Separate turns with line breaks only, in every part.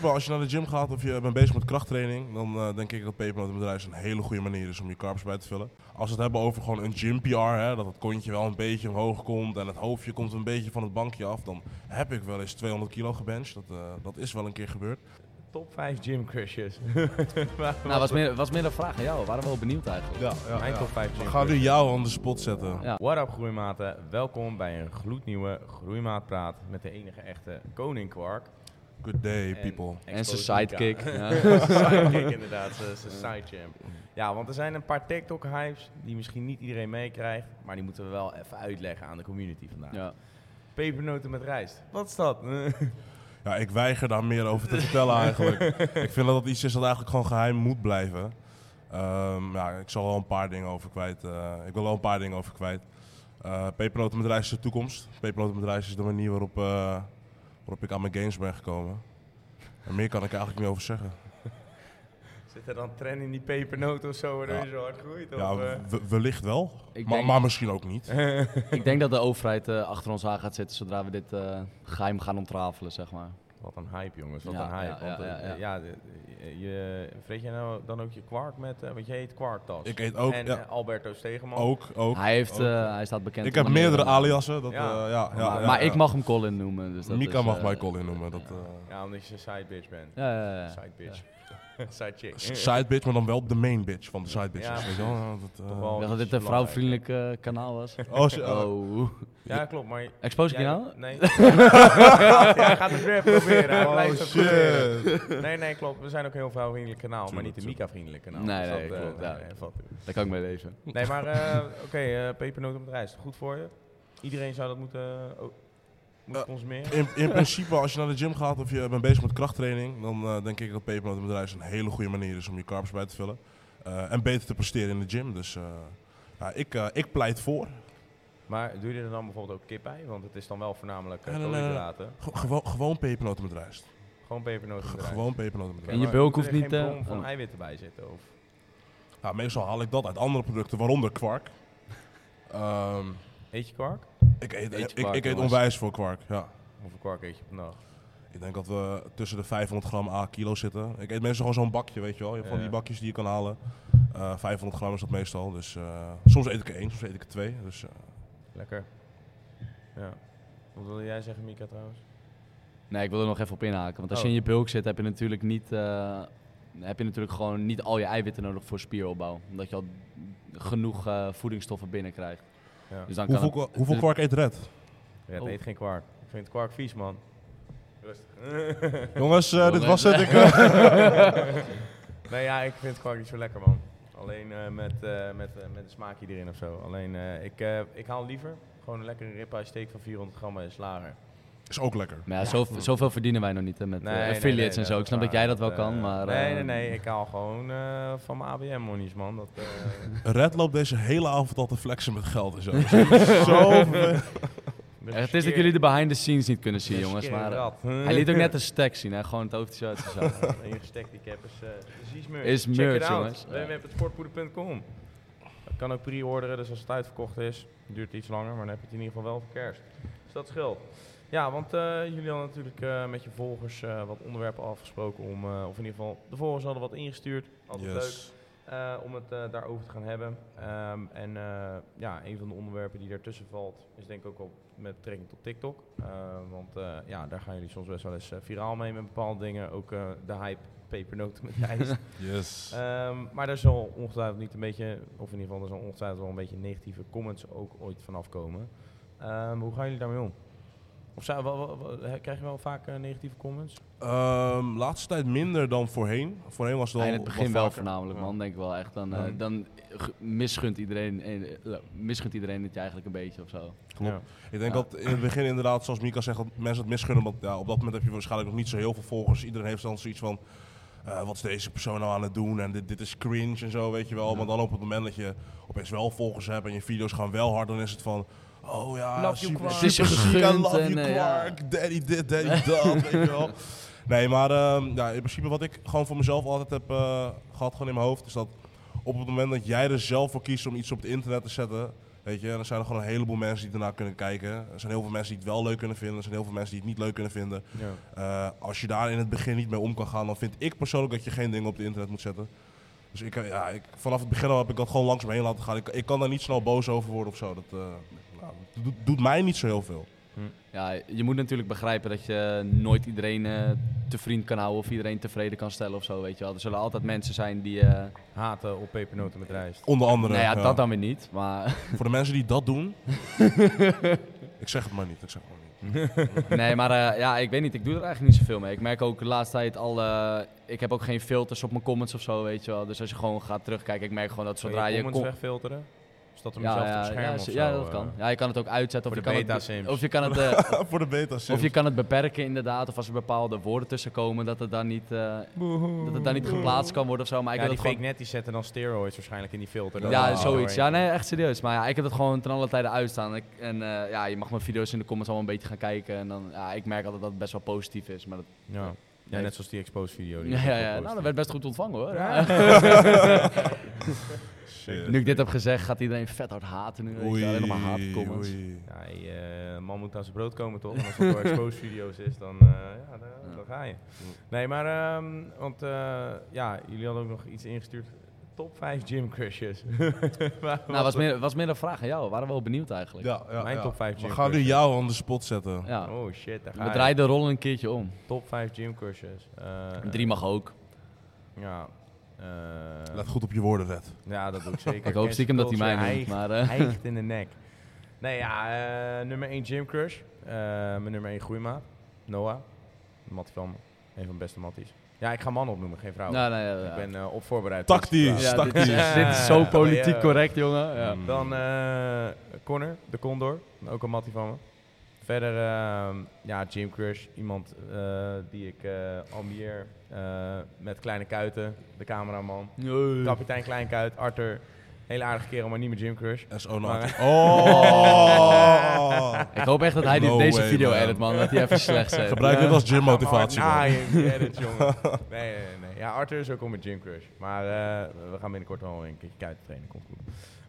wel, als je naar de gym gaat of je bent bezig met krachttraining, dan eh, denk ik dat pepernotenbedrijf een hele goede manier is om je carbs bij te vullen. Als we het hebben over gewoon een gym PR, hè, dat het kontje wel een beetje omhoog komt en het hoofdje komt een beetje van het bankje af, dan heb ik wel eens 200 kilo gebenched. Dat, eh, dat is wel een keer gebeurd.
Top 5 gymcrushes.
Nou, was meer, was meer een vraag aan jou. We waren wel benieuwd eigenlijk.
Ja,
Mijn top 5
We gaan
gymcrushes.
nu jou aan de spot zetten.
Ja.
What up groeimaten, welkom bij een gloednieuwe Groeimaatpraat met de enige echte Koning Quark.
Good day, people.
En zijn
Exposed
sidekick.
Mika.
Ja.
sidekick inderdaad, zijn zijn sidechamp. Ja, want er zijn een paar TikTok-hypes die misschien niet iedereen meekrijgt, maar die moeten we wel even uitleggen aan de community vandaag.
Ja.
Pepernoten met rijst, wat is dat?
Ja, Nou, ik weiger daar meer over te vertellen eigenlijk. ik vind dat dat iets is dat eigenlijk gewoon geheim moet blijven. Ehm, ja, ik zal wel een paar dingen over kwijt. eh, ik wil wel een paar dingen over kwijt. Eh pepernoten met rijst is de toekomst. Pepernoten met rijst is de manier waarop, eh, waarop ik aan mijn games ben gekomen. En meer kan ik er eigenlijk niet over zeggen.
Zit er dan trend in die pepernoten of zo waardoor
Ja.
je zo hard groeit?
Ja,
of, eh?
we- wellicht wel,
Ik
maar,
denk-
maar misschien ook niet.
Ik denk dat de overheid eh, achter ons aan gaat zitten zodra we dit eh, geheim gaan ontrafelen, zeg maar.
Wat een hype, jongens. Wat
Ja,
een hype.
ja,
want,
ja,
eh,
ja,
ja, de- eh, je, vreet jij nou dan ook je kwark met... eh, want je heet kwarktas.
Ik eet ook,
En
ja.
eh, Alberto Stegeman.
Ook, ook.
Hij, heeft,
ook.
eh, hij staat bekend.
ik heb
onder meer
meerdere
om-
aliasen. Dat,
Ja.
eh, ja, ja,
maar
ja,
maar
ja.
ik mag hem Colin noemen. Dus dat
Mika
is,
mag
eh,
mij Colin noemen. Dat, eh,
Ja, omdat je een side bitch bent.
Ja, ja, ja.
Side bitch. side chick.
side bitch, maar dan wel op de main bitch van de side bitch.
Ja,
weet je wel? Ja, dat, eh,
Toch wel
Ik dacht dat
iets
dit
belangrijk.
een vrouwvriendelijk eh, kanaal was.
Oh, zo-
Oh.
Ja, klopt, maar...
Expose ik je
jij-
nou?
Nee. ja, hij gaat het weer proberen. Hij
Oh,
blijft het proberen. Nee, nee, klopt. We zijn ook een heel vrouwvriendelijk kanaal, maar niet
Tuurlijk,
een Mika-vriendelijk kanaal.
Nee,
Dus
nee,
eh,
klopt, ja.
nee, nee, valt-
Daar kan ik mee leven.
Nee, maar eh, oké, eh, pepernoten met rijst. Goed voor je. Iedereen zou dat moeten, ook moeten
Eh,
consumeren.
In, in principe, als je naar de gym gaat of je bent bezig met krachttraining, dan eh, denk ik dat pepernotenbedrijf een hele goede manier is om je carbs bij te vullen. Eh, en beter te presteren in de gym. Dus eh, ja, ik, eh, ik pleit voor.
Maar doe je er dan bijvoorbeeld ook kip bij? Want het is dan wel voornamelijk eh,
Nee, nee, nee, nee.
koolhydraten.
Ge- gewoon- gewoon pepernotenbedrijf.
Gewoon pepernoten. erbij.
Gewoon pepernotenbedrijf.
En je
maar
bulk
moet
hoeft
er
niet,
geen
eh,
bron van
oh.
eiwitten bij zitten. Of...
Ja, meestal haal ik dat uit andere producten, waaronder kwark. Ehm,
Eet je kwark?
ik eet,
Eet je
ik,
kwark,
ik eet
jongens.
onwijs voor kwark. Ja.
Hoeveel kwark eet je per dag?
Ik denk dat we tussen de 500 gram à kilo zitten. Ik eet meestal gewoon zo'n bakje, weet je wel. Je hebt van
Ja.
die bakjes die je kan halen. Eh, 500 gram is dat meestal. Dus eh, soms eet ik er één, soms eet ik er twee. Dus eh,
Lekker. Ja. Wat wilde jij zeggen, Mika, trouwens?
Nee, ik wil er nog even op inhaken. Want als je
Oh.
in je bulk zit, heb je natuurlijk niet. eh, heb je natuurlijk gewoon niet al je eiwitten nodig voor spieropbouw. Omdat je al genoeg eh, voedingsstoffen binnenkrijgt.
Ja.
Dus dan kan
hoeveel,
het-
kwa- hoeveel kwark eet Red?
Red
Oh.
eet geen kwark. Ik vind kwark vies, man. Rustig.
Jongens, eh, dit was
Jongens,
het.
eh.
Ik, eh,
nee, ja, ik vind kwark niet zo lekker, man. Alleen eh, met, eh, met, eh, met een smaakje erin of zo. Alleen, eh, ik, eh, ik haal liever gewoon een lekkere ribeye steak van 400 gram bij een slager.
is ook lekker.
Maar ja, zo, zoveel verdienen wij nog niet hè, met eh, affiliates en zo. Ik snap dat jij dat wel
eh,
kan, maar...
nee,
eh,
nee, nee. Ik haal gewoon eh, van mijn ABM-monies, man. Dat, eh,
Red loopt deze hele avond al te flexen met geld en zo. zo vervelend.
ben
Het is dat
gescheerd.
jullie de behind the scenes niet kunnen zien,
Ben
jongens.
gescheerd
Maar eh,
rat.
hij liet ook net een stack zien, hè. Gewoon het hoofdje uit zo.
En je gestekt die cap is, eh, is iets merch.
Is
Check
merch,
it out.
jongens. Ja.
www.sportpoeder.com Dat kan ook pre-orderen, dus als het uitverkocht is, duurt het iets langer, maar dan heb je het in ieder geval wel voor kerst. Dus dat scheelt. Ja, want eh, jullie hadden natuurlijk eh, met je volgers eh, wat onderwerpen afgesproken om, eh, of in ieder geval, de volgers hadden wat ingestuurd. Altijd leuk.
Yes.
eh, om het eh, daarover te gaan hebben. Ehm, en eh, ja, een van de onderwerpen die daartussen valt, is denk ik ook op met betrekking tot TikTok. Eh, want eh, ja, daar gaan jullie soms best wel eens eh, viraal mee met bepaalde dingen. Ook eh, de hype pepernoten met ijs.
Yes.
Ehm, maar daar zal ongetwijfeld niet een beetje, of in ieder geval, er zal ongetwijfeld wel een beetje negatieve comments ook ooit vanaf komen. Ehm, hoe gaan jullie daarmee om? Of zou, wa- wa- wa- he- krijg je wel vaak eh, negatieve comments?
Ehm, laatste tijd minder dan voorheen. Voorheen was het
Ja,
wel
in het
wat
begin wel
vaker.
voornamelijk, man. Denk ik wel echt. Dan, eh,
Ja.
dan ge- misgunt iedereen, eh, misgunt iedereen het je eigenlijk een beetje of zo.
Klopt.
Ja.
Ik denk
Ja.
dat in het begin inderdaad, zoals Mika zegt, dat mensen het misgunnen. Want ja, op dat moment heb je waarschijnlijk nog niet zo heel veel volgers. Iedereen heeft dan zoiets van, eh, wat is deze persoon nou aan het doen? En dit, dit is cringe en zo, weet je wel. Maar dan op het moment dat je opeens wel volgers hebt en je video's gaan wel hard, dan is het van... Oh ja,
Love you,
super,
Quark.
Het is je
super ziek, I
gegund
love you,
en, eh, ja.
Quark. Daddy dit, daddy dat, weet je wel. Nee, maar ehm, ja, in principe wat ik gewoon voor mezelf altijd heb eh, gehad gewoon in mijn hoofd, is dat op het moment dat jij er zelf voor kiest om iets op het internet te zetten, Weet je, en er zijn er gewoon een heleboel mensen die ernaar kunnen kijken. Er zijn heel veel mensen die het wel leuk kunnen vinden. Er zijn heel veel mensen die het niet leuk kunnen vinden.
Ja.
Eh, als je daar in het begin niet mee om kan gaan, dan vind ik persoonlijk dat je geen dingen op het internet moet zetten. Dus ik, eh, ja, ik, vanaf het begin al heb ik dat gewoon langs me heen laten gaan. Ik, ik kan daar niet snel boos over worden of zo. Dat, eh, nou, dat doet, doet mij niet zo heel veel.
Ja, je moet natuurlijk begrijpen dat je nooit iedereen eh tevreden kan houden of iedereen tevreden kan stellen of zo, weet je wel. Er zullen altijd mensen zijn die... eh,
Haten op pepernoten met rijst.
Onder andere. eh,
nou ja,
ja.
dat dan weer niet, maar...
Voor de mensen die dat doen. ik zeg het maar niet. Ik zeg het maar niet.
nee, maar eh, ja, ik weet niet, ik doe er eigenlijk niet zoveel mee. Ik merk ook de laatste tijd al... eh, ik heb ook geen filters op mijn comments of zo, weet je wel. Dus als je gewoon gaat terugkijken, ik merk gewoon dat zodra je...
comments
com-
wegfilteren? Is dat om
ja,
jezelf te
ja,
beschermen
ja,
of
ze-
zo?
ja, dat
eh?
kan. Ja, je kan het ook uitzetten of je
voor
kan
de
het...
beta-sims.
Of je kan het... eh,
Voor de beta's.
Of je kan het beperken inderdaad, of als er bepaalde woorden tussen komen, dat het dan niet, eh, dat het dan niet geplaatst kan worden of zo. Maar ik
ja,
heb
die
dat
fake
gewoon-
net die zetten dan steroids waarschijnlijk in die filter. Dan
ja,
haal je er
zoiets. Ja,
doorheen.
nee, echt serieus. Maar ja, ik heb dat gewoon ten alle tijde uitstaan. Ik, en eh, ja, je mag mijn video's in de comments allemaal een beetje gaan kijken. En dan, ja, ik merk altijd dat het best wel positief is. Maar dat,
Ja. Ja,
Nee.
net zoals die expose video. die
ja,
ik
ja,
ook
ja.
gepost
Nou, dat
heb.
werd best goed ontvangen hoor.
Shit.
nu ik dit heb gezegd, gaat iedereen vet hard haten nu. Weet je, alleen nog maar haatcomments.
oei.
Ja, je, eh, man moet aan zijn brood komen toch? En als het door expose video's is, dan, eh, ja, daar,
Ja.
dan ga je. Nee, maar, ehm, want eh, ja, jullie hadden ook nog iets ingestuurd. Top 5 gym crushes.
Nou, was meer, was meer een vraag aan jou. We waren wel benieuwd eigenlijk.
Ja, ja,
Mijn
ja.
top vijf
We
gym
gaan nu
crushes.
jou on the spot zetten.
Ja.
Oh shit, daar ga
We
je.
draaien de rollen een keertje om.
Top 5 gym crushes. Eh,
Drie mag ook.
Ja. eh,
Let goed op je woorden, Red.
ja, dat doe ik zeker.
Ik hoop
Cancel
stiekem dat hij
culture
mij noemt.
hijgt-
Maar, eh,
Hijgt in de nek. Nee, ja, eh, nummer 1 Jim Crush. Eh, mijn nummer 1 groeimaat. Noah. Mattie van me. Een van de beste matties. Ja, ik ga mannen opnoemen, geen vrouwen.
nou, nee, ja,
Ik
ja.
ben eh, op voorbereid.
Tactisch.
Ja.
Ja, dit, is,
Tactisch.
dit is zo
Ja.
politiek
Ja.
correct, jongen. Ja.
Mm.
Dan eh Connor, de Condor. Ook een mattie van me. Verder, ehm, ja, Jim Crush. Iemand eh, die ik eh ambieer eh, met kleine kuiten. De cameraman. Kapitein Kleinkuit, Arthur. Hele aardige kerel, maar niet meer Jim Crush.
SO
Maar-
Naughty. Oh!
Ik hoop echt dat hij dit-
No
deze
way,
video
man.
edit, man. Dat hij even slecht zet.
Gebruik dit als gym motivatie.
Ah, je edit, jongen. Nee, nee, nee. Ja, Arthur is ook al met Gym Crush. Maar eh, we gaan binnenkort wel een keertje kuiten trainen. Komt goed.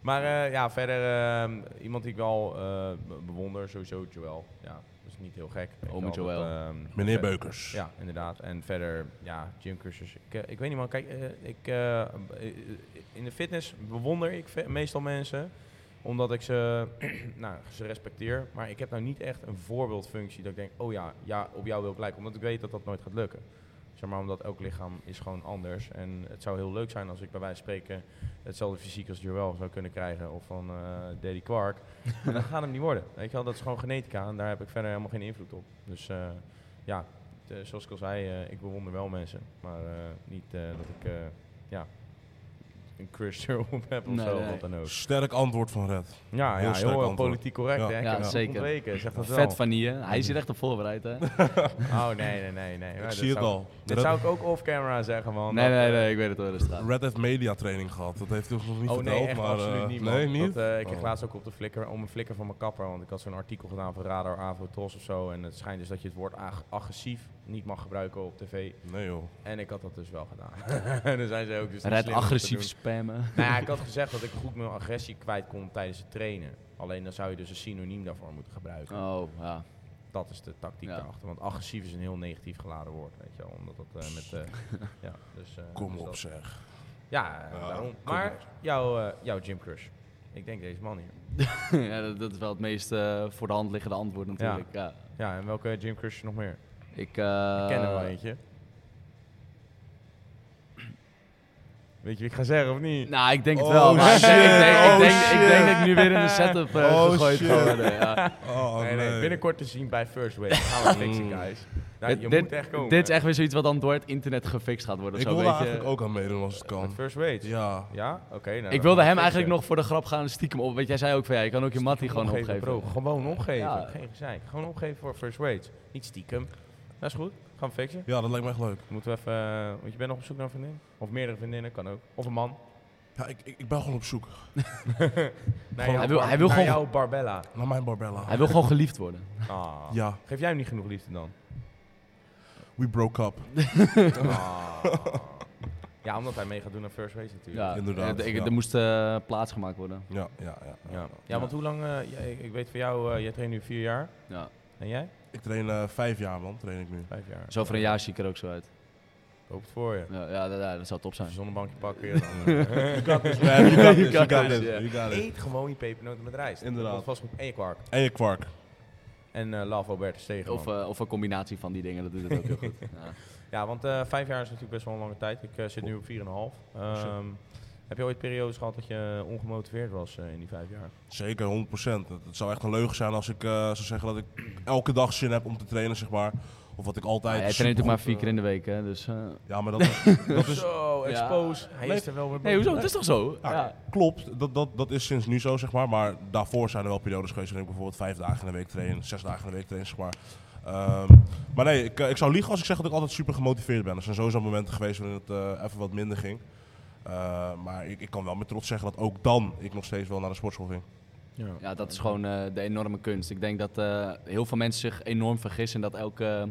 Maar eh, ja, verder ehm, iemand die ik wel eh, be- bewonder, sowieso Joel. Ja, dat is niet heel gek. Weet
Ome
je wel, dat,
Joel.
ehm,
Meneer
ver-
Beukers.
Ja, inderdaad. En verder, ja, gymcursus. Ik, eh, ik weet niet, man. Kijk, eh, ik, eh, eh, in de fitness bewonder ik ve- meestal mensen. Omdat ik ze, nou, ze respecteer. Maar ik heb nou niet echt een voorbeeldfunctie dat ik denk, oh ja, ja op jou wil ik lijken. Omdat ik weet dat dat nooit gaat lukken. Zeg maar, omdat elk lichaam is gewoon anders. En het zou heel leuk zijn als ik bij wijze van spreken hetzelfde fysiek als Joel zou kunnen krijgen. Of van eh Daddy Quark. Maar dat gaat hem niet worden. Weet je wel, dat is gewoon genetica. En daar heb ik verder helemaal geen invloed op. Dus eh, ja, t- eh, zoals ik al zei, eh, ik bewonder wel mensen. Maar eh, niet eh, dat ik, eh, ja, een crush erop heb of
Nee,
zo.
nee.
Wat dan ook.
Sterk antwoord van Red.
Ja,
Heel
ja
sterk
heel, eh,
antwoord.
politiek correct.
Ja.
hè? Ik
Ja,
heb het
zeker.
ontweken, zeg dat wel.
Vet van hier. Hij is hier echt op voorbereid, hè?
Oh, nee, nee, nee. nee.
ik zie het al.
Dat zou ik ook off-camera zeggen, man.
Nee,
Dat,
nee,
eh,
nee. Ik weet het wel, dat staat.
Red heeft media training gehad. Dat heeft hij ons nog niet
Oh
verteld.
nee, echt
maar,
absoluut
eh,
niet, man.
Nee, niet?
Dat, eh, ik kreeg
Oh.
laatst ook op de flikker om een flikker van mijn kapper, want ik had zo'n artikel gedaan voor Radar Avotros of zo. En het schijnt dus dat je het woord ag- agressief niet mag gebruiken op tv.
Nee joh.
En ik had dat dus wel gedaan. en dan zijn ze ook dus niet
Red
slim om te
agressief
doen.
spammen.
Nou ja, ik had gezegd dat ik goed mijn agressie kwijt kon tijdens het trainen. Alleen dan zou je dus een synoniem daarvoor moeten gebruiken.
Oh, ja.
Dat is de tactiek
Ja.
daarachter. Want agressief is een heel negatief geladen woord, weet je wel. Omdat dat eh, met... eh, ja, dus, eh,
Kom
dus
op
dat-
zeg.
Ja, eh,
Ja,
daarom.
kom
Maar
op.
jouw, eh, jouw gymcrush. Ik denk deze man hier.
ja dat, dat is wel het meest eh, voor de hand liggende antwoord natuurlijk. Ja.
Ja, en welke gymcrush nog meer?
Ik, eh,
Ik ken er wel eentje. Weet je wie ik ga zeggen of niet?
Nou, ik denk het
Oh,
wel. Maar ik denk- ik, denk,
shit.
ik, denk,
Oh,
ik denk
shit.
dat ik nu weer in de setup eh,
Oh,
gegooid
shit.
ga worden. Ja.
Oh,
nee, nee, binnenkort te zien bij First Wave. Gaan we fixen, guys. Nou,
Mm. Dit-
je
dit-
moet echt komen.
Dit is echt weer zoiets wat dan door het internet gefixt gaat worden.
Ik
zo,
wil
weet
daar
je.
eigenlijk ook aan meedoen als het
Met
kan.
First Wave? Ja.
Ja.
Oké. nou, dan gaan
Ik wilde hem
we
eigenlijk
fixen.
nog voor de grap gaan stiekem op. Weet jij zei ook van ja, je kan ook je mattie gewoon opgeven.
bro. Gewoon opgeven.
Ja.
Geen gezeik. Gewoon opgeven voor First Wave. Niet stiekem. Dat is goed. Gaan we fixen.
Ja, dat lijkt me echt leuk.
Moeten we even... eh, want je bent nog op zoek naar een vriendin. Of meerdere vriendinnen, kan ook. Of een man.
Ja, ik, ik, ik ben gewoon op zoek
Nee,
Hij wil- hij wil
naar
gewoon-
jouw Barbella.
naar mijn Barbella.
Hij wil gewoon geliefd worden.
Ah.
Ja,
Geef jij hem niet genoeg liefde dan?
Oh.
we broke up.
Ah. Ja, omdat hij mee gaat doen aan First Race natuurlijk.
Ja,
Inderdaad,
eh, ik-
ja.
Er moest eh, plaats gemaakt worden.
Ja, ja, ja.
Ja, ja. want hoe lang, eh, jij- ik, ik weet van jou, eh, jij traint nu vier jaar.
Ja.
En jij?
Ik train eh, vijf jaar, man. Train ik nu.
Vijf jaar.
Dus over een jaar zie ik er ook zo uit.
Ik hoop het voor je.
Ja, ja, dat, ja, dat zou top zijn.
Als je zonnebankje pakken. ja, dan,
You
eh,
got this, man. You got this.
You
You
got
got
this,
this.
yeah.
You got it.
Eet gewoon je pepernoten met rijst.
Inderdaad.
Dat Vast goed. En je kwark.
En je kwark.
En eh Love Albertus tegen.
Of, eh, of een combinatie van die dingen, dat doet het ook heel goed. Ja.
Ja, want eh, vijf jaar is natuurlijk best wel een lange tijd. Ik eh, zit nu op 4,5.
Oh,
Ehm heb je ooit periodes gehad dat je ongemotiveerd was eh, in die vijf jaar?
Zeker, 100%. Het, het zou echt een leugen zijn als ik eh, zou zeggen dat ik elke dag zin heb om te trainen, zeg maar. Of wat ik altijd.
Ja, jij traint
supergoed,
ook maar vier
eh,
keer in de week, hè? Dus, eh.
Ja, maar dat, dat is.
Zo, expose. Hij
Leuk.
is er wel weer
Nee,
bij.
hoezo? Het is toch zo?
Ja,
Ja.
Nou, Klopt, dat, dat, dat is sinds nu zo, zeg maar. Maar daarvoor zijn er wel periodes geweest waarin ik bijvoorbeeld vijf dagen in de week train, zes dagen in de week train, zeg maar. Ehm, maar nee, ik, eh, ik zou liegen als ik zeg dat ik altijd super gemotiveerd ben. Er zijn sowieso momenten geweest waarin het eh, even wat minder ging. Eh, maar ik, ik kan wel met trots zeggen dat ook dan ik nog steeds wel naar de sportschool ging.
Ja.
Ja, dat is gewoon eh, de enorme kunst. Ik denk dat eh, heel veel mensen zich enorm vergissen dat elke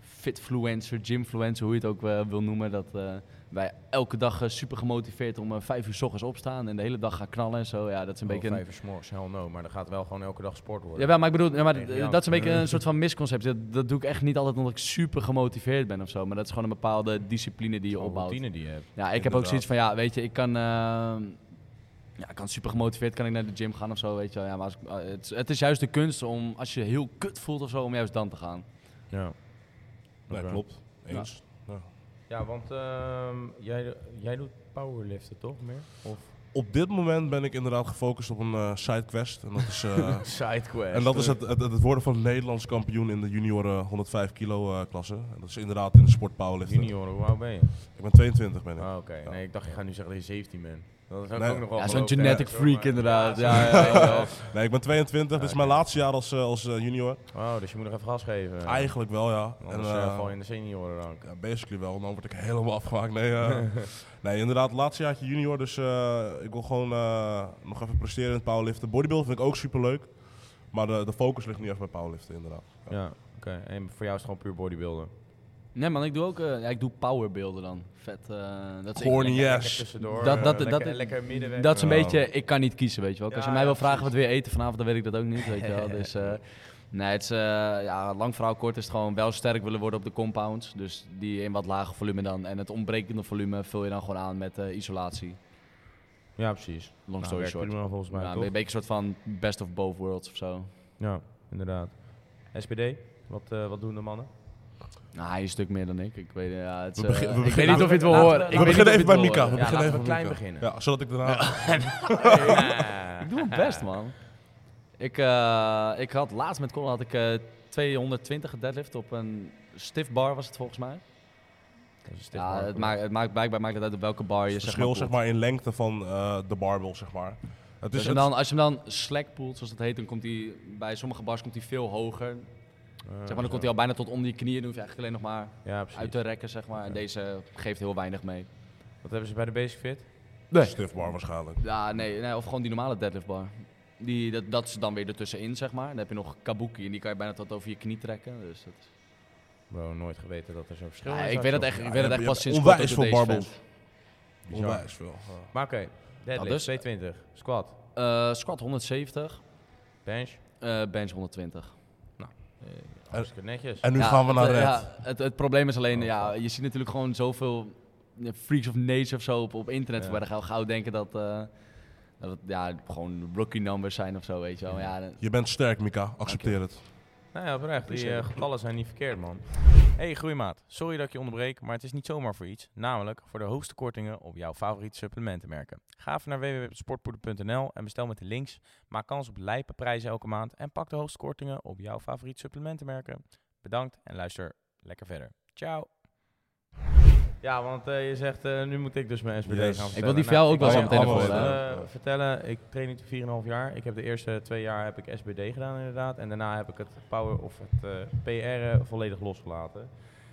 fitfluencer, gymfluencer, hoe je het ook eh, wil noemen, dat eh, wij elke dag eh, super gemotiveerd om eh, vijf uur s ochtends opstaan en de hele dag gaan knallen en zo. Ja, dat is een
Een beetje
beetje. een-
Oh, vijf uur 's morgens, hell no. Maar er gaat wel gewoon elke dag sport worden.
Jawel, maar ik bedoel, ja, maar
Nee,
d-
ja.
dat is een beetje een soort van misconcept. Dat, dat doe ik echt niet altijd omdat ik super gemotiveerd ben of zo. Maar dat is gewoon een bepaalde discipline die je
Gewoon
opbouwt.
routine die je hebt.
Ja, ik heb ook
Inderdaad.
zoiets van, ja, weet je, ik kan, ehm, ja, ik kan super gemotiveerd kan ik naar de gym gaan of zo, weet je wel. Ja, maar als, ik- eh, het, is- het is juist de kunst om, als je je heel kut voelt of zo, om juist dan te gaan.
Ja.
Nee,
Oké.
klopt. Eens. Ja.
Ja, want ehm, jij, jij doet powerliften toch meer? Of
Op dit moment ben ik inderdaad gefocust op een eh sidequest. En dat is, eh,
sidequest.
en dat is het, het, het worden van Nederlands kampioen in de junioren 105 kilo eh, klasse. En dat is inderdaad in de sport powerlifting.
Junior, hoe oud ben je?
Ik ben 22 ben ik.
Ah, oké.
Ja.
Nee, ik dacht, je gaat nu zeggen dat je 17 bent. Dat is
Nee.
ook nog wel
Ja, zo'n
geloof, hè?
genetic
Zo,
freak
maar-
inderdaad.
zo.
Ja, ja, ja, ja.
Nee, ik ben 22. dit is
oké.
mijn laatste jaar als, eh, als eh, junior.
Oh, dus je moet nog even gas geven.
Eigenlijk wel, ja. En,
Anders eh,
eh,
val je in de seniorenrank.
ja, basically wel. Dan word ik helemaal afgemaakt. Nee, eh, nee inderdaad. Laatste jaartje junior. Dus eh, ik wil gewoon eh, nog even presteren in het powerliften. Bodybuild vind ik ook super leuk. Maar de, de focus ligt nu even bij powerliften, inderdaad.
Ja, oké. En voor jou is het gewoon puur bodybuilden.
Nee man, ik doe ook, eh, ja, ik doe powerbeelden dan. Vet, eh, dat is ik-
Corny
Lekker
ass.
tussendoor.
Dat-
eh,
dat-
lekker,
dat-
lekker middenweg.
Dat is een
Ja.
beetje, ik kan niet kiezen, weet je wel. Als je
Ja,
mij
ja,
wil vragen wat
precies.
we eten vanavond, dan weet ik dat ook niet, weet je wel. Dus, eh, nee, het is, eh, ja, lang verhaal kort is het gewoon wel sterk willen worden op de compounds. Dus die in wat lager volume dan. En het ontbrekende volume vul je dan gewoon aan met eh, isolatie.
Ja, precies. Nou,
Long story
werkt
short.
prima volgens mij,
Ja, een
toch?
beetje een soort van best of both worlds of zo.
Ja, inderdaad. SPD, wat, eh, wat doen de mannen?
Nou, hij is een stuk meer dan ik. Ik weet, eh, ja, het is,
We
eh,
begin- we
ik weet
beginnen-
niet of je het wil
laten we-
horen.
laten
Ik
we
weet niet
beginnen
of je
even bij
het wil
Mika. We
horen.
beginnen
laten we
even
klein
met Mika.
beginnen.
Ja, zodat ik daarna...
Ik doe mijn best, man. Ik, eh, ik had laatst met Colin had ik eh 220 gedeadlift op een stiff bar was het volgens mij.
Dat is een stiff
Ja,
mark.
het maakt, het maakt blijkbaar maakt het uit op welke bar
Het
je zeg
verschil
maar,
zeg
poelt.
maar, in lengte van eh, de barbell, zeg maar. Het
Dus
is
en
het-
dan, als je hem dan slack poelt, zoals dat heet, dan komt hij bij sommige bars komt hij veel hoger.
Eh,
Zeg maar, dan komt hij al bijna tot onder je knieën. Dan hoef je eigenlijk alleen nog maar
Ja, precies.
uit te rekken, zeg maar. En deze geeft heel weinig mee.
Wat hebben ze bij de Basic Fit?
Nee.
stiff bar waarschijnlijk.
Ja, nee, nee, of gewoon die normale deadliftbar. Die, dat, dat is dan weer ertussenin, zeg maar. Dan heb je nog kabuki en die kan je bijna tot over je knie trekken. Dus dat is-
Bro, nooit geweten dat er zo'n verschil
Ja,
is.
ik weet dat echt, ik
Ja, je
weet dat echt
hebt
pas sinds
onwijs
kort
veel
door deze
barbels.
vent.
Bizar.
Onwijs veel. ja.
Maar oké, deadlift,
dus-
220, squat,
Eh, squat 170,
bench.
eh, bench 120.
Hartstikke netjes.
En nu
Ja,
gaan we naar
het,
red.
eh, ja, het, het probleem is alleen,
Oh,
ja, je ziet natuurlijk gewoon zoveel ja, freaks of nature of zo op, op internet.
Ja.
Waar dan gaan we gauw denken dat, eh, dat het ja, gewoon rookie numbers zijn of zo, weet je wel. Maar Ja, dan-
Je bent sterk, Mika. Accepteer het.
Nou ja, oprecht. Die
Appreciate
eh,
it.
getallen zijn niet verkeerd, man. Hey, groeimaat. Sorry dat ik je onderbreek, maar het is niet zomaar voor iets. Namelijk voor de hoogste kortingen op jouw favoriete supplementenmerken. Ga even naar www.sportpoeder.nl en bestel met de links. Maak kans op lijpe prijzen elke maand en pak de hoogste kortingen op jouw favoriete supplementenmerken. Bedankt en luister lekker verder. Ciao. Ja, want eh, je zegt, eh, nu moet ik dus mijn SPD
Yes.
gaan
Ik wil
vertellen. Nou,
die van jou ook
ik
wel
kan
zo
je
meteen
alles,
even horen,
eh,
hè?
vertellen. Ik train nu 4,5 jaar. Ik heb de eerste twee jaar heb ik SBD gedaan inderdaad. En daarna heb ik het power of het eh, PR volledig losgelaten.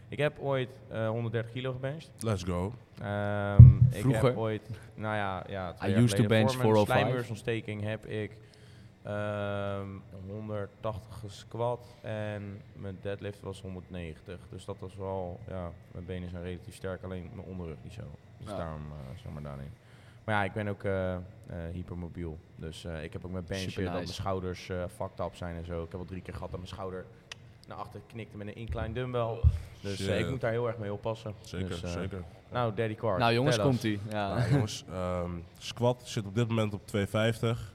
Ik heb ooit eh, 130 kilo gebenched.
Let's go.
Ehm, Ik
Vroeger?
heb ooit, nou ja, ja twee
I
jaar
used to
geleden
bench
voor mijn
405.
slijmbeursontsteking heb ik Ehm, 180 squat en mijn deadlift was 190. Dus dat was wel, ja, mijn benen zijn relatief sterk, alleen mijn onderrug niet zo. Dus
Ja.
daarom eh, zeg maar daarin. Maar ja, ik ben ook eh, eh, hypermobiel. Dus eh, ik heb ook mijn bench
Super
dat mijn
nice.
schouders eh fucked up zijn en zo. Ik heb al drie keer gehad dat mijn schouder naar achter knikte met een incline dumbbell. Dus eh, ik
Shit.
moet daar heel erg mee oppassen.
Zeker,
Dus, eh,
zeker.
Nou, Daddy Car.
Nou jongens, komt ie. Ja.
Nou, jongens, ehm, squat zit op dit moment op 250.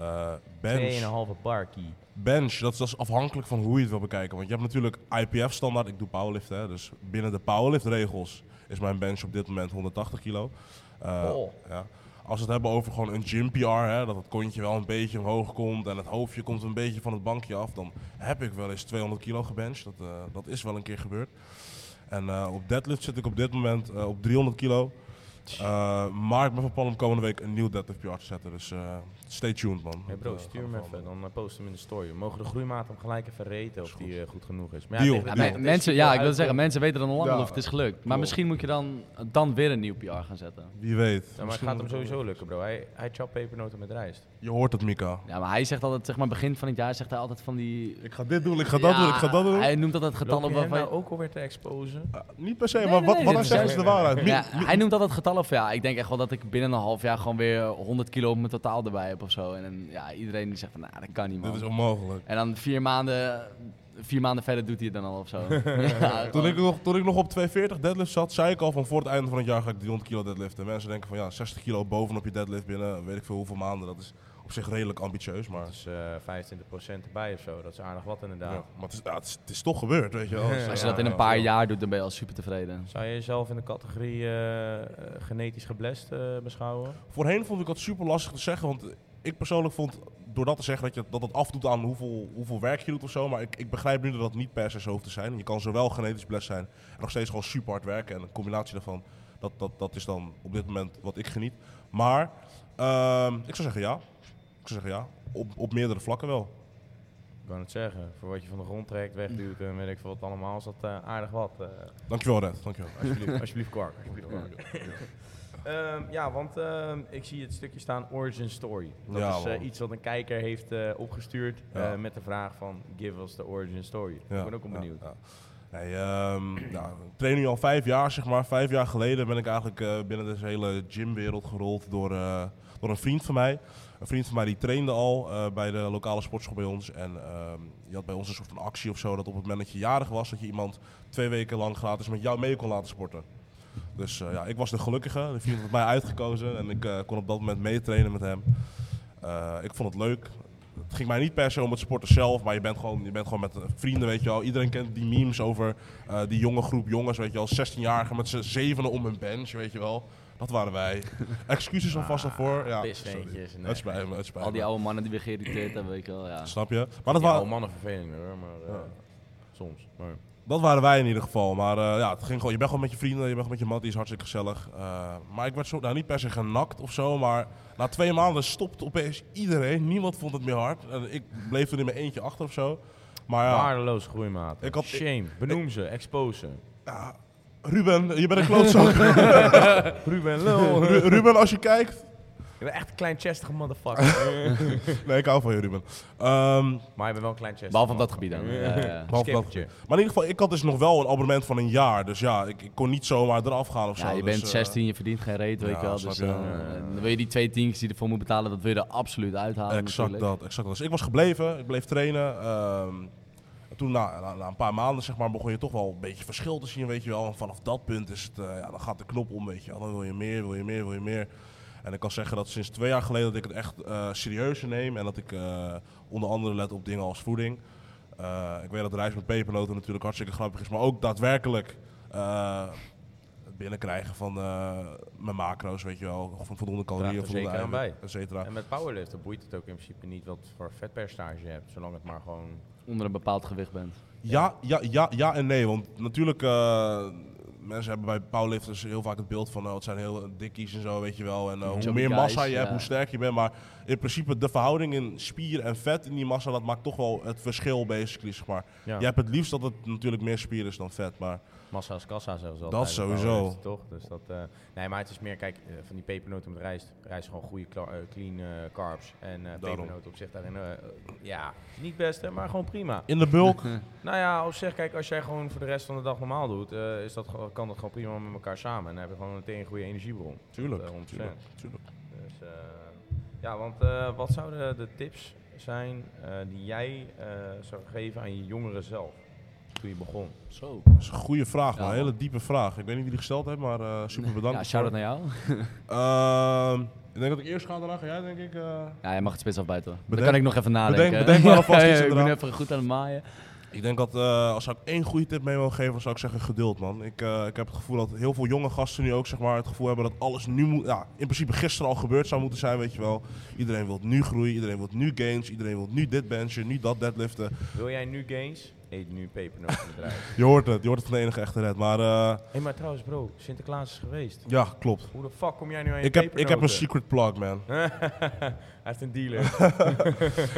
Eh, bench,
2,5 barkie.
bench dat, is, dat is afhankelijk van hoe je het wil bekijken. Want je hebt natuurlijk IPF-standaard, ik doe powerlift, hè, dus binnen de powerlift-regels is mijn bench op dit moment 180 kilo. Eh,
Oh.
ja. Als we het hebben over gewoon een gym PR, hè, dat het kontje wel een beetje omhoog komt en het hoofdje komt een beetje van het bankje af, dan heb ik wel eens 200 kilo gebenched. Dat, eh, dat is wel een keer gebeurd. En eh, op deadlift zit ik op dit moment eh, op 300 kilo. Eh, maar ik ben van plan om komende week een nieuw deadlift PR te zetten. Dus eh, stay tuned, man.
Hey bro,
Dat, eh,
stuur
gaat
hem
wel,
even,
man.
dan eh, post hem in de story. We mogen de groeimaat hem gelijk even reten of
Is
die eh, goed genoeg is.
Deal,
tegen de
deal.
tijd
Ja,
is
mensen,
hij
ja,
veel
ik wil
uit-
zeggen, mensen weten dan al lang
Ja,
wel of het is gelukt. Maar
klopt.
misschien moet je dan, dan weer een nieuw PR gaan zetten.
Wie weet.
Ja, maar het
Misschien
gaat hem
moet ik-
sowieso lukken bro. Hij, hij chapt pepernoten met rijst.
Je hoort het, Mika.
Ja, maar hij zegt altijd, zeg maar begin van het jaar, zegt hij altijd van die...
Ik ga dit doen, ik ga dat doen, ik ga dat doen.
Hij noemt altijd
Loop
getallen
je hem
waarvan...
nou ook alweer te exposen?
Ah, niet per se,
Nee,
maar
nee,
wat,
nee,
wat
dit
hij
is-
zegt is de waarheid. Mi-
Ja, hij noemt altijd getallen van ja, ik denk echt wel dat ik binnen een half jaar gewoon weer 100 kilo op mijn totaal erbij heb of zo. En, dan, ja, iedereen die zegt van, nou, dat kan niet man.
Dit is onmogelijk.
En dan vier maanden, vier maanden verder doet hij het dan al of zo. ja,
Toen ik,
gewoon-
nog, toen ik nog op 240 deadlift zat, zei ik al van voor het einde van het jaar ga ik 300 kilo deadliften. Mensen denken van ja, 60 kilo bovenop je deadlift binnen weet ik veel hoeveel maanden. Dat is op zich redelijk ambitieus, maar,
Dat is eh 25% erbij of zo, dat is aardig wat
ja.
inderdaad.
maar het, is, ja, het, is, het is toch gebeurd, weet je wel. Dus,
Ja.
als je
ja,
dat in een
ja.
paar jaar doet, dan ben je al super tevreden.
Zou je jezelf in de categorie eh, eh, genetisch geblest eh, beschouwen?
Voorheen vond ik dat super lastig te zeggen, want ik persoonlijk vond door dat te zeggen dat je, dat het afdoet aan hoeveel, hoeveel werk je doet of zo. Maar ik, ik begrijp nu dat dat niet per se zo hoeft te zijn. Je kan zowel genetisch blessed zijn en nog steeds gewoon super hard werken. En een combinatie daarvan, dat, dat, dat is dan op dit moment wat ik geniet. Maar ehm, ik zou zeggen ja. Ik zou zeggen ja. Op, op meerdere vlakken wel.
Ik kan het zeggen, voor wat je van de grond trekt, wegduwt
Mm.
en weet ik veel wat allemaal, is dat eh, aardig wat. eh.
Dankjewel Red, dankjewel.
Alsjeblieft, alsjeblieft kwark. Ehm, ja, want ehm, ik zie het stukje staan Origin Story. Dat
Ja,
is eh,
man.
iets wat een kijker heeft eh, opgestuurd
Ja.
eh, met de vraag van give us the Origin Story.
Ja,
Ik ben ook wel
ja,
benieuwd.
ja. Nee, ehm, nou, ik train nu al vijf jaar, zeg maar. Vijf jaar geleden ben ik eigenlijk eh, binnen deze hele gymwereld gerold door, eh, door een vriend van mij. Een vriend van mij die trainde al eh, bij de lokale sportschool bij ons. En ehm, je had bij ons een soort van actie of zo, dat op het moment dat je jarig was, dat je iemand twee weken lang gratis met jou mee kon laten sporten. Dus eh, ja, ik was de gelukkige. De vriend had mij uitgekozen en ik eh, kon op dat moment meetrainen met hem. Eh, ik vond het leuk. Het ging mij niet per se om het sporten zelf, maar je bent gewoon, je bent gewoon met eh, vrienden, weet je wel. Iedereen kent die memes over eh, die jonge groep jongens, weet je wel. 16-jarigen met z'n zevenen om hun bench, weet je wel. Dat waren wij. Excuses alvast daarvoor. Ja, sorry.
Pisveentjes.
Het spijt me, het spijt
Ah, Al die
me.
oude mannen die weer geïrriteerd hebben, weet je wel. Ja.
Snap je? Maar dat,
Ja,
wa
oude mannen vervelend hoor, maar eh,
Ja.
soms. Maar,
dat waren wij in ieder geval. Maar eh, ja, het ging gewoon, je bent gewoon met je vrienden, je bent gewoon met je matties, is hartstikke gezellig. Eh, maar ik werd zo, nou, niet per se genakt of zo, maar na twee maanden stopte opeens iedereen. Niemand vond het meer hard. En ik bleef toen in mijn eentje achter of zo. Maar ja,
Waardeloos groeimaat.
Ik had-
Shame. Benoem ze, expose ze.
Ja, Ruben, je bent een klootzak.
Ruben Lul.
Ru- Ruben, als je kijkt.
Je bent echt een kleinchestige motherfucker.
Nee, ik hou van je, Ruben. Ehm,
maar je bent wel een kleinchestige
Behalve op dat gebied dan. Ja, ja, ja.
behalve dat-
Skippertje.
maar in ieder geval, ik had dus nog wel een abonnement van een jaar. Dus ja, ik, ik kon niet zomaar eraf gaan of
Ja,
zo.
je
dus,
bent
eh,
16, je verdient geen reet, weet
ja,
je wel.
snap
Dus
je.
eh,
Ja, ja,
ja.
dan wil je die twee tientjes die ervoor moet betalen, dat wil je er absoluut uithalen
Exact
natuurlijk.
dat, exact dat. Dus ik was gebleven, ik bleef trainen. ehm, en toen na, na, na een paar maanden zeg maar, begon je toch wel een beetje verschil te zien, weet je wel. En vanaf dat punt is het, eh, ja, dan gaat de knop om, weet je wel. Dan wil je meer, wil je meer, wil je meer. En ik kan zeggen dat sinds twee jaar geleden dat ik het echt eh serieuzer neem. En dat ik eh, onder andere let op dingen als voeding. Eh, ik weet dat rijst met pepernoten natuurlijk hartstikke grappig is. Maar ook daadwerkelijk eh, het binnenkrijgen van eh, mijn macro's, weet je wel. Van voldoende calorieën,
Draagt er
voldoende
zeker aan
eiwit,
bij.
et cetera.
En met powerliften boeit het ook in principe niet wat voor vetpercentage je hebt, zolang het maar gewoon...
Onder een bepaald gewicht bent.
Ja, ja, ja, ja en nee. Want natuurlijk, eh, mensen hebben bij powerlifters heel vaak het beeld van... oh, het zijn heel dikkies en zo, weet je wel. En eh, hoe
Chubby
meer
guys,
massa je hebt,
ja.
hoe sterker je bent. Maar in principe, de verhouding in spier en vet in die massa... dat maakt toch wel het verschil, basically, zeg maar.
Ja.
Je hebt het liefst dat het natuurlijk meer spier is dan vet. Maar
Massa is kassa, zeggen ze
Dat
altijd. bij
sowieso.
Powerade, Toch? Dus dat, eh, nee, maar het is meer, kijk, eh, van die pepernoten met rijst. Rijst is gewoon goede kla- eh, clean eh, carbs. En eh
Daarom.
pepernoten op zich daarin, eh, eh, ja, niet best, hè, maar gewoon prima.
In de bulk?
Nou ja, op zich, kijk, als jij gewoon voor de rest van de dag normaal doet, eh, is dat, gewoon- kan dat gewoon prima met elkaar samen. En dan heb je gewoon meteen een goede energiebron.
tuurlijk,
Eh, 100%.
tuurlijk, tuurlijk.
Dus, eh, ja, want eh, wat zouden de tips zijn eh, die jij eh, zou geven aan je jongeren zelf toen je begon?
Zo.
Dat is een goede vraag,
Ja,
man. Een
man.
hele diepe vraag. Ik weet niet wie die gesteld heeft, maar eh, super bedankt.
Ja, shout-out naar jou.
Ehm, ik denk dat ik eerst ga, daarna ga jij, denk ik. eh.
Ja, jij mag het spits afbijten. hoor. Dan
Bedenk-
kan ik nog even nadenken.
bedenk- bedenk maar alvast iets
ja, ik ben
inderdaad.
even goed aan het maaien.
Ik denk dat eh, als ik één goede tip mee wil geven, dan zou ik zeggen geduld, man. Ik, eh, ik heb het gevoel dat heel veel jonge gasten nu ook zeg maar, het gevoel hebben dat alles nu moet... Ja, in principe gisteren al gebeurd zou moeten zijn, weet je wel. Iedereen wil nu groeien, iedereen wil nu gains, iedereen wil nu dit benchen, nu dat deadliften.
Wil jij nu gains? Eet nu pepernoten met rijst.
Je hoort het, je hoort het van de enige echte red. Maar eh,
Hé, maar trouwens bro, Sinterklaas is geweest.
ja, klopt.
Hoe de fuck kom jij nu aan je
Ik heb, ik heb een
pepernoten?
secret plug, man.
Hij heeft een dealer.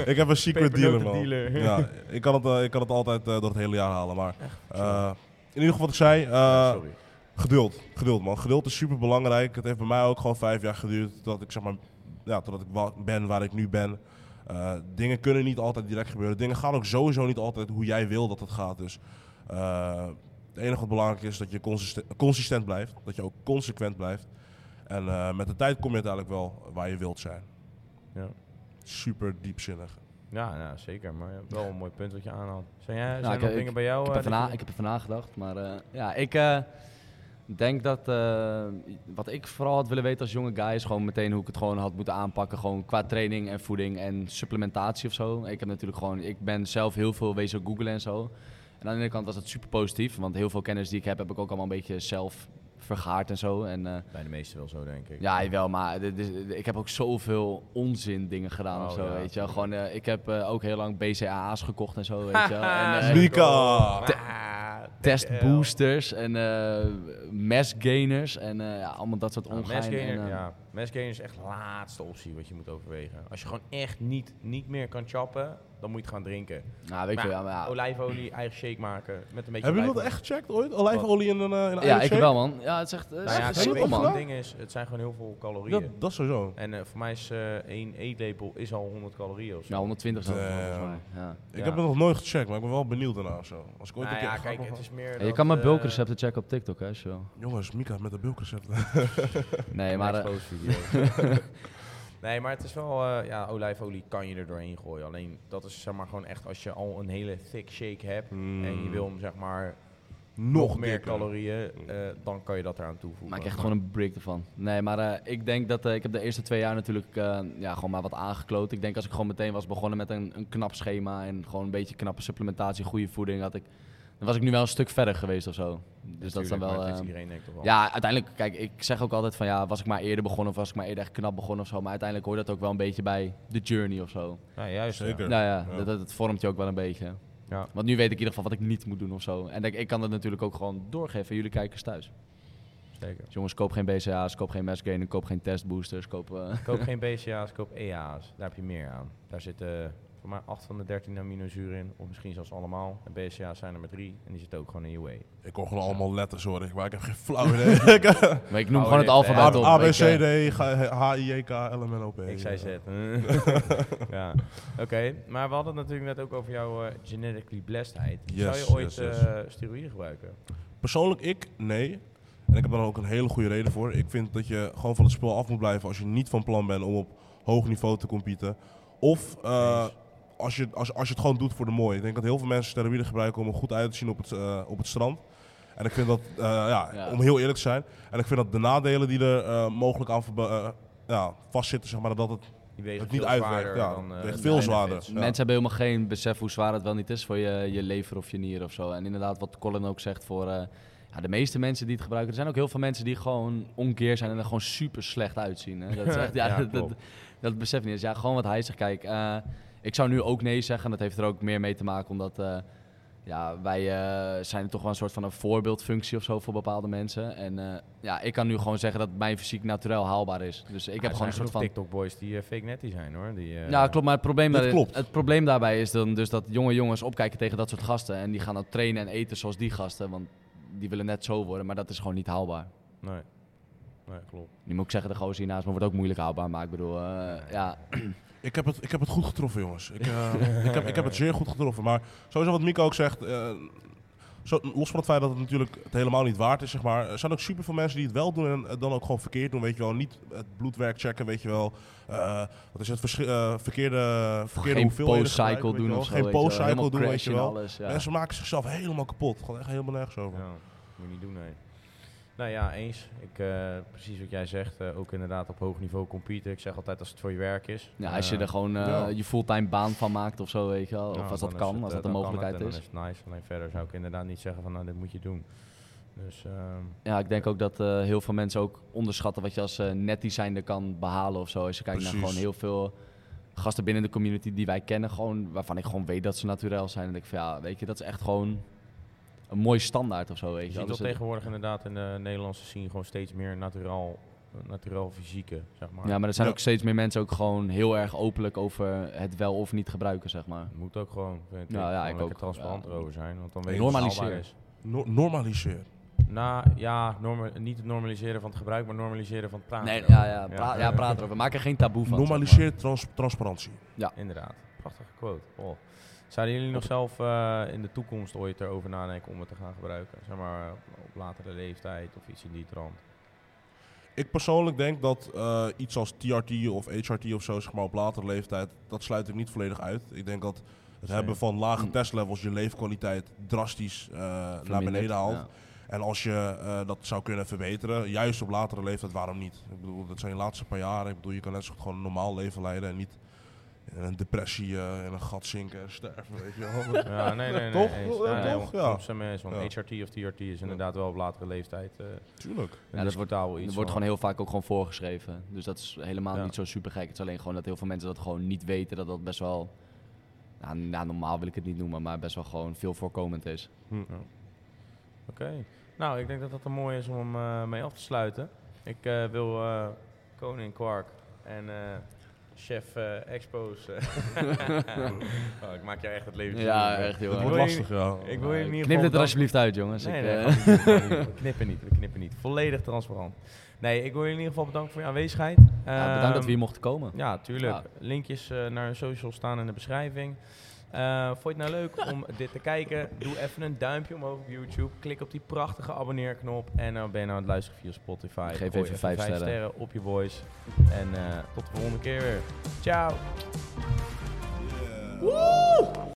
Ik heb een secret dealer, man.
Pepernotendealer.
Ja, ik kan het, eh, ik kan het altijd eh, door het hele jaar halen, maar... eh, in ieder geval wat ik zei, eh,
Sorry.
Geduld, geduld man. Geduld is super belangrijk. Het heeft bij mij ook gewoon vijf jaar geduurd totdat ik, zeg maar, ja, totdat ik wa- ben waar ik nu ben. Eh, dingen kunnen niet altijd direct gebeuren. Dingen gaan ook sowieso niet altijd hoe jij wil dat het gaat. Dus eh, het enige wat belangrijk is, is dat je consiste- consistent blijft. Dat je ook consequent blijft. En eh, met de tijd kom je uiteindelijk wel waar je wilt zijn.
Ja.
Super diepzinnig.
Ja, nou, zeker. Maar wel een mooi punt wat je aanhaalt. Zijn, jij, zijn er
Nou, ik-
nog
ik-
dingen bij jou?
Ik heb,
eh,
er vana-
dat
ik
je-
heb er vandaag gedacht, maar eh, ja, ik eh, denk dat eh, wat ik vooral had willen weten als jonge guy is gewoon meteen hoe ik het gewoon had moeten aanpakken. Gewoon qua training en voeding en supplementatie of zo. Ik heb natuurlijk gewoon, ik ben zelf heel veel wezen googlen en zo. En aan de ene kant was dat super positief, want heel veel kennis die ik heb, heb ik ook allemaal een beetje zelf vergaard en zo. En eh,
Bij de meesten wel zo, denk ik.
ja, wel, maar dit is- ik heb ook zoveel onzin dingen gedaan
Oh,
of zo,
ja.
weet je wel. Gewoon, eh, ik heb eh, ook heel lang BCAA's gekocht en zo, weet je wel. En, eh,
Mika!
Ah,
testboosters en eh mesgainers en eh, ja, allemaal dat soort
Ja,
ongein. en,
Manscainer,
eh,
Nou, ja. Manscainer is echt de laatste optie wat je moet overwegen. Als je gewoon echt niet, niet meer kan chappen, dan moet je het gaan drinken.
nou, weet ik
Maar
veel, ja, maar ja.
Olijfolie, eigen shake maken, met een beetje
Hebben jullie dat
olijfolie.
echt gecheckt ooit? Olijfolie in een, eh, in een
ja,
eigen
ik
shake?
wel man. Ja, het is echt eh, het is
Oh, Nou ja,
echt
kijk, weet
simpel
je wat het
man.
gedaan?
ding is, het zijn gewoon heel veel calorieën.
Dat, dat sowieso.
En eh, voor mij is eh één eetlepel is al 100 calorieën of zo.
Ja, 120 zo.
Damn.
volgens mij, ja.
Ik
Eh, Ja.
heb het nog nooit gecheckt, maar ik ben wel benieuwd daarna of zo. Als ik ooit
Nou
een keer
ja,
ga
kijk,
ik nog
het
wel-
is meer
je
dat,
kan mijn
eh,
bulkrecepten checken op TikTok, hè, zo.
Jongens, Mika met de bulkenrecepten.
Nee, maar... eh,
nee, maar het is wel, eh, ja, olijfolie kan je er doorheen gooien. Alleen dat is zeg maar gewoon echt als je al een hele thick shake hebt
Mm.
en je wil hem zeg maar nog, meer calorieën, eh, dan kan je dat eraan toevoegen.
Maak echt gewoon een break ervan. Nee, maar eh, ik denk dat eh, ik heb de eerste twee jaar natuurlijk eh, ja, gewoon maar wat aangekloot. Ik denk als ik gewoon meteen was begonnen met een, een knap schema en gewoon een beetje knappe supplementatie, goede voeding, had ik, dan was ik nu wel een stuk verder geweest of zo. Dus dat is dan
Natuurlijk, maar
wel.
het is
eh,
iedereen denk ik toch wel.
ja, uiteindelijk, kijk, ik zeg ook altijd van ja, was ik maar eerder begonnen of was ik maar eerder echt knap begonnen of zo. Maar uiteindelijk hoort dat ook wel een beetje bij de journey of zo.
Ja, juist. ja.
Zeker.
Nou ja,
Ja.
Dat, dat, dat vormt je ook wel een beetje.
Ja.
Want nu weet ik in ieder geval wat ik niet moet doen of zo. En ik, ik kan dat natuurlijk ook gewoon doorgeven aan jullie kijkers thuis.
Zeker.
Dus jongens, koop geen BCA's, koop geen mesgainer, koop geen testboosters, koop... eh,
Koop geen BCA's, koop EA's. Daar heb je meer aan. Daar zitten voor mij 8 van de 13 aminozuren in, of misschien zelfs allemaal. En BCA's zijn er maar 3 en die zitten ook gewoon in je whey.
Ik hoor gewoon allemaal letters hoor, ik, maar ik heb geen flauw idee. Ik-
maar ik noem
Oh,
gewoon het
dit,
alfabet
eh,
op.
A, B,
Ik,
C,
eh,
D, H, I, J, K, L, M, N, O, P.
Ik zei zet. ja. Oké, maar we hadden het natuurlijk net ook over jouw eh, genetically blessedheid. Zou
Yes,
je ooit
yes, yes.
eh, steroïden gebruiken?
Persoonlijk ik, nee. En ik heb daar ook een hele goede reden voor. Ik vind dat je gewoon van het spel af moet blijven als je niet van plan bent om op hoog niveau te competen. Of eh, als, je, als, als je het gewoon doet voor de mooi. Ik denk dat heel veel mensen steroïden gebruiken om er goed uit te zien op het, eh, op het strand. En ik vind dat, eh, ja,
Ja.
om heel eerlijk te zijn, en ik vind dat de nadelen die er eh, mogelijk aan verba- eh, ja, vastzitten, zeg maar, dat het
Die wegen
Het niet
veel
uitwerkt,
zwaarder
ja.
dan, eh,
Weegt
de
veel
benefits.
zwaarder. Ja.
Mensen hebben helemaal geen besef hoe zwaar het wel niet is voor je, je lever of je nier of zo. En inderdaad, wat Colin ook zegt voor eh, ja, de meeste mensen die het gebruiken. Er zijn ook heel veel mensen die gewoon onkeer zijn en er gewoon super slecht uitzien. Hè? Dat, is echt, ja,
Ja,
dat, dat,
klopt.
dat besef ik niet eens. Ja, gewoon wat hij zegt. Kijk, eh, ik zou nu ook nee zeggen. Dat heeft er ook meer mee te maken omdat... eh, ja, wij eh, zijn toch wel een soort van een voorbeeldfunctie of zo voor bepaalde mensen. En eh, ja, ik kan nu gewoon zeggen dat mijn fysiek naturel haalbaar is. Dus ik
Ik
heb gewoon een soort van...
TikTok boys die eh, fake netty zijn hoor. Die, eh,
Ja, klopt. Maar het probleem,
Dat
daarin-
klopt.
het probleem daarbij is dan dus dat jonge jongens opkijken tegen dat soort gasten. En die gaan dan trainen en eten zoals die gasten. Want die willen net zo worden, maar dat is gewoon niet haalbaar.
Nee. Nee, klopt.
Nu moet ik zeggen, de gozer hiernaast me wordt ook moeilijk haalbaar, maar ik bedoel, eh, ja,
Ik heb, het, ik heb het goed getroffen, jongens. Ik, eh, ik, heb, ik heb het zeer goed getroffen. Maar sowieso wat Mico ook zegt, eh, zo, los van het feit dat het natuurlijk het helemaal niet waard is, zeg maar, er zijn ook super veel mensen die het wel doen en het dan ook gewoon verkeerd doen, weet je wel. Niet het bloedwerk checken, weet je wel. Eh, wat is het? verschi- eh, verkeerde verkeerde
geen
hoeveelheden gebruiken,
post-cycle
weet je
doen
wel.
of zo.
Geen
weet je wel.
post-cycle
Helemaal
doen, weet
crashen
je
en
wel.
alles, ja.
Mensen maken zichzelf helemaal kapot. Gewoon echt helemaal nergens over.
Ja, moet je niet doen, nee. Nou ja, eens. Ik, eh, precies wat jij zegt. eh, ook inderdaad op hoog niveau competen. Ik zeg altijd als het voor je werk is.
Ja, als je
Eh,
er gewoon eh,
ja.
je fulltime baan van maakt of zo, weet je wel. Of
nou,
als dat
dan
kan,
is het,
als
eh,
dat een
dan kan
mogelijkheid
het en
is.
Dan is het nice. Alleen verder zou ik inderdaad niet zeggen van nou, dit moet je doen. Dus ehm,
Ja, ik denk ook dat eh, heel veel mensen ook onderschatten wat je als eh, netdesigner kan behalen of zo. Als je kijkt naar
Precies.
gewoon heel veel gasten binnen de community die wij kennen, gewoon, waarvan ik gewoon weet dat ze naturel zijn. En ik van ja, weet je, dat is echt gewoon een mooi standaard of zo, weet
je
je wel.
ziet
Dus
dat
het-
tegenwoordig inderdaad in de Nederlandse scene gewoon steeds meer naturaal, naturaal fysieke, zeg maar.
ja, maar er zijn
Ja.
ook steeds meer mensen ook gewoon heel erg openlijk over het wel of niet gebruiken, zeg maar.
Het moet ook gewoon, vind ik,
Ja, ja,
gewoon
ik
lekker
ook.
transparant
Ja.
erover zijn. Want dan weet je wat
Normaliseer.
haalbaar is.
No- normaliseer.
Nou ja, norma- niet het normaliseren van het gebruik, maar normaliseren van het praten.
Nee,
erover.
ja, ja, pra- ja, praat erover. Maak er geen taboe van. zeg maar.
Normaliseer trans- transparantie.
Inderdaad, prachtige quote. Oh. Zouden jullie nog zelf eh, in de toekomst ooit erover nadenken om het te gaan gebruiken? Zeg maar eh, op latere leeftijd of iets in die trant.
Ik persoonlijk denk dat eh, iets als TRT of HRT of zo, zeg maar op latere leeftijd, dat sluit ik niet volledig uit. Ik denk dat het
Zeker.
hebben van lage
Mm.
testlevels je leefkwaliteit drastisch eh, naar
Verminderd,
beneden haalt.
ja.
En als je eh, dat zou kunnen verbeteren, juist op latere leeftijd, waarom niet? Ik bedoel, dat zijn je laatste paar jaren. Ik bedoel, je kan net zo goed gewoon een normaal leven leiden en niet in een depressie eh, in een gat zinken en sterven, weet je wel. Dat-
Ja, nee, nee, nee.
Toch?
eens.
Ja,
nee,
toch?
want-
Ja.
want sommige mensen, want HRT of TRT is inderdaad wel op latere leeftijd. eh
Tuurlijk.
dat
dat wordt daar wel iets.
Er wordt
van.
gewoon heel vaak ook gewoon voorgeschreven. Dus dat is helemaal
Ja.
niet zo super gek. Het is alleen gewoon dat heel veel mensen dat gewoon niet weten. Dat dat best wel, nou, nou, normaal wil ik het niet noemen, maar best wel gewoon veel voorkomend is.
Hm, Oké. Nou, ik denk dat dat een mooi is om hem eh, mee af te sluiten. Ik eh, wil eh, Koning Quark en eh, chef eh, Expos. eh, oh, ik maak jou echt het eh. leven.
Ja, eh,
moeilijk.
echt heel
Het
erg.
wordt
Wil je-
lastig, ja.
Ik wil je in ieder
Knip
geval
dit er
bedanken.
alsjeblieft uit, jongens.
Nee,
Ik,
Dus nee,
eh,
gaan we niet doen. we knippen niet, we knippen niet. Volledig transparant. Nee, ik wil je in ieder geval bedanken voor je aanwezigheid. Ehm,
ja, bedankt dat we hier mochten komen.
Ja, tuurlijk.
Ja.
Linkjes eh, naar hun social staan in de beschrijving. Eh, vond je het nou leuk om dit te kijken? Doe even een duimpje omhoog op YouTube. Klik op die prachtige abonneerknop. En dan ben je nou aan het luisteren via Spotify.
Geef
Gooi
even vijf sterren.
op je voice. En eh, tot de volgende keer weer. Ciao!